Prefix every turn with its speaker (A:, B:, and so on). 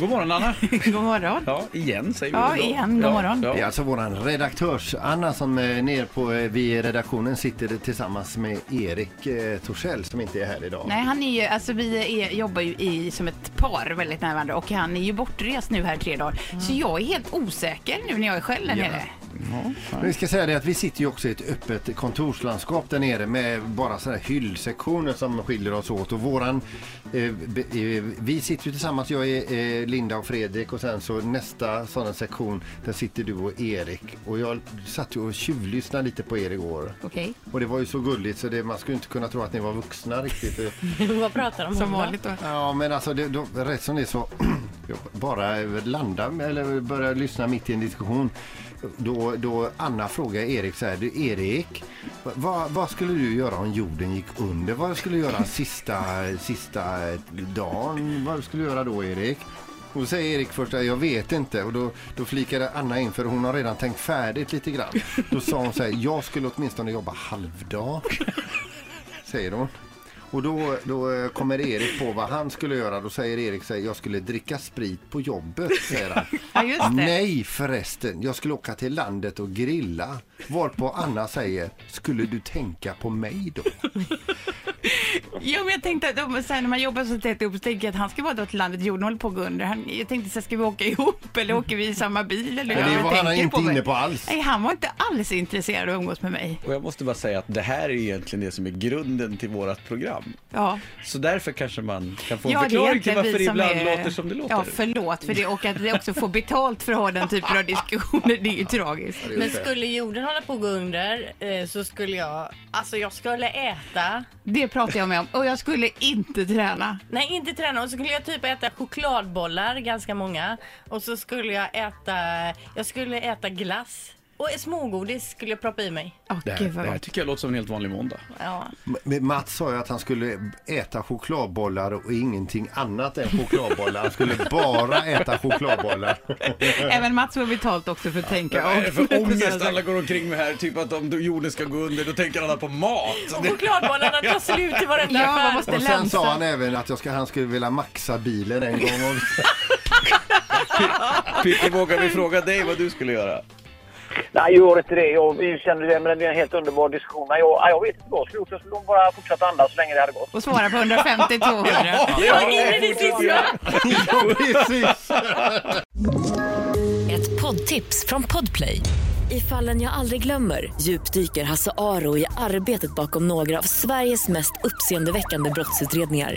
A: God morgon Anna!
B: God morgon.
A: Ja, igen säger
B: Ja,
A: vi väl då.
B: igen. God morgon.
A: Ja,
C: Det är
A: ja.
C: alltså våran redaktörs Anna som eh, ner på eh, vi i redaktionen sitter tillsammans med Erik eh, Torssell som inte är här idag.
B: Nej, han är ju, alltså vi är, jobbar ju i, som ett par väldigt nära varandra och han är ju bortrest nu här tre dagar. Så jag är helt osäker nu när jag är själv där
C: Ja.
B: nere.
C: Men vi ska säga det att vi sitter ju också i ett öppet kontorslandskap där nere med bara sådana här hyllsektioner som skiljer oss åt och våran eh, be, eh, vi sitter ju tillsammans, jag är eh, Linda och Fredrik och sen så nästa sån sektion där sitter du och Erik och jag satt ju och tjuvlyssnade lite på er igår.
B: Okej.
C: Och det var ju så gulligt så det, man skulle inte kunna tro att ni var vuxna riktigt.
D: Vad pratar de om?
B: Som vanligt då.
C: Ja, men alltså det, då, rätt som det är så bara landa eller börja lyssna mitt i en diskussion. Då, då Anna frågar Erik så här, du Erik, vad, vad skulle du göra om jorden gick under? Vad skulle du göra sista, sista dagen? Vad skulle du göra då Erik? Och då säger Erik först jag vet inte och då, då flikade Anna in för hon har redan tänkt färdigt lite grann. Då sa hon så här, jag skulle åtminstone jobba halvdag säger hon. Och då, då eh, kommer Erik på vad han skulle göra. Då säger Erik säger jag skulle dricka sprit på jobbet. Säger han.
B: Ja, just det.
C: Nej förresten, jag skulle åka till landet och grilla. Varpå Anna säger, skulle du tänka på mig då?
B: Ja, men jag tänkte att de, så här, när man jobbar så tätt ihop så tänker jag att han ska vara då till landet jorden håller på att gå under. Han, jag tänkte så här, ska vi åka ihop eller åker vi i samma bil? Eller
C: Men
B: hur
C: det
B: jag
C: var han
B: tänker
C: inte
B: mig.
C: inne på alls.
B: Nej, han var inte alls intresserad av att umgås med mig.
A: Och jag måste bara säga att det här är egentligen det som är grunden till vårt program.
B: Ja.
A: Så därför kanske man kan få en
B: Ja, det är
A: förklaring till
B: egentligen
A: varför
B: vi
A: det
B: som
A: ibland
B: är-
A: låter som det låter.
B: Ja, förlåt för det och att vi också får betalt för att ha den typen av diskussioner, det är ju tragiskt.
D: Men skulle jorden hålla på att gå under eh, så skulle jag, alltså jag skulle äta,
B: Det pratar jag med om. Och jag skulle inte träna.
D: nej inte träna, och så skulle jag typ äta chokladbollar, ganska många. Och så skulle jag äta, jag skulle äta glass. Och smågodis skulle jag proppa i mig.
B: Åh,
A: Det här,
B: gud vad
A: det här
B: gott.
A: tycker jag låter som en helt vanlig måndag.
D: Ja.
C: Men Mats sa ju att han skulle äta chokladbollar och ingenting annat än chokladbollar. Han skulle bara äta chokladbollar.
B: Även Mats får betalt också för att tänka.
A: Vad är det för ångest
B: Precis.
A: alla går omkring med här? Typ att om jorden ska gå under, då tänker alla på mat.
D: Och chokladbollarna tar slut i varenda
B: Ja, man
D: affär.
B: måste
C: Och sen sa han
B: lämna.
C: även att jag ska, han skulle vilja maxa bilen en gång. om-
A: Pippi, vågar vi fråga dig vad du skulle göra?
E: Nej, gör inte det. Jag, vi kände det, men det är en helt underbar diskussion. Nej, jag, nej, jag vet inte vad jag skulle gjort. Jag skulle nog bara fortsätta andas så länge det hade gått.
B: Och svara på 150-200.
D: Ja, in i det sista.
C: Ja, precis.
F: Ett poddtips från Podplay. I fallen jag aldrig glömmer djupdyker Hasse Aro i arbetet bakom några av Sveriges mest uppseendeväckande brottsutredningar.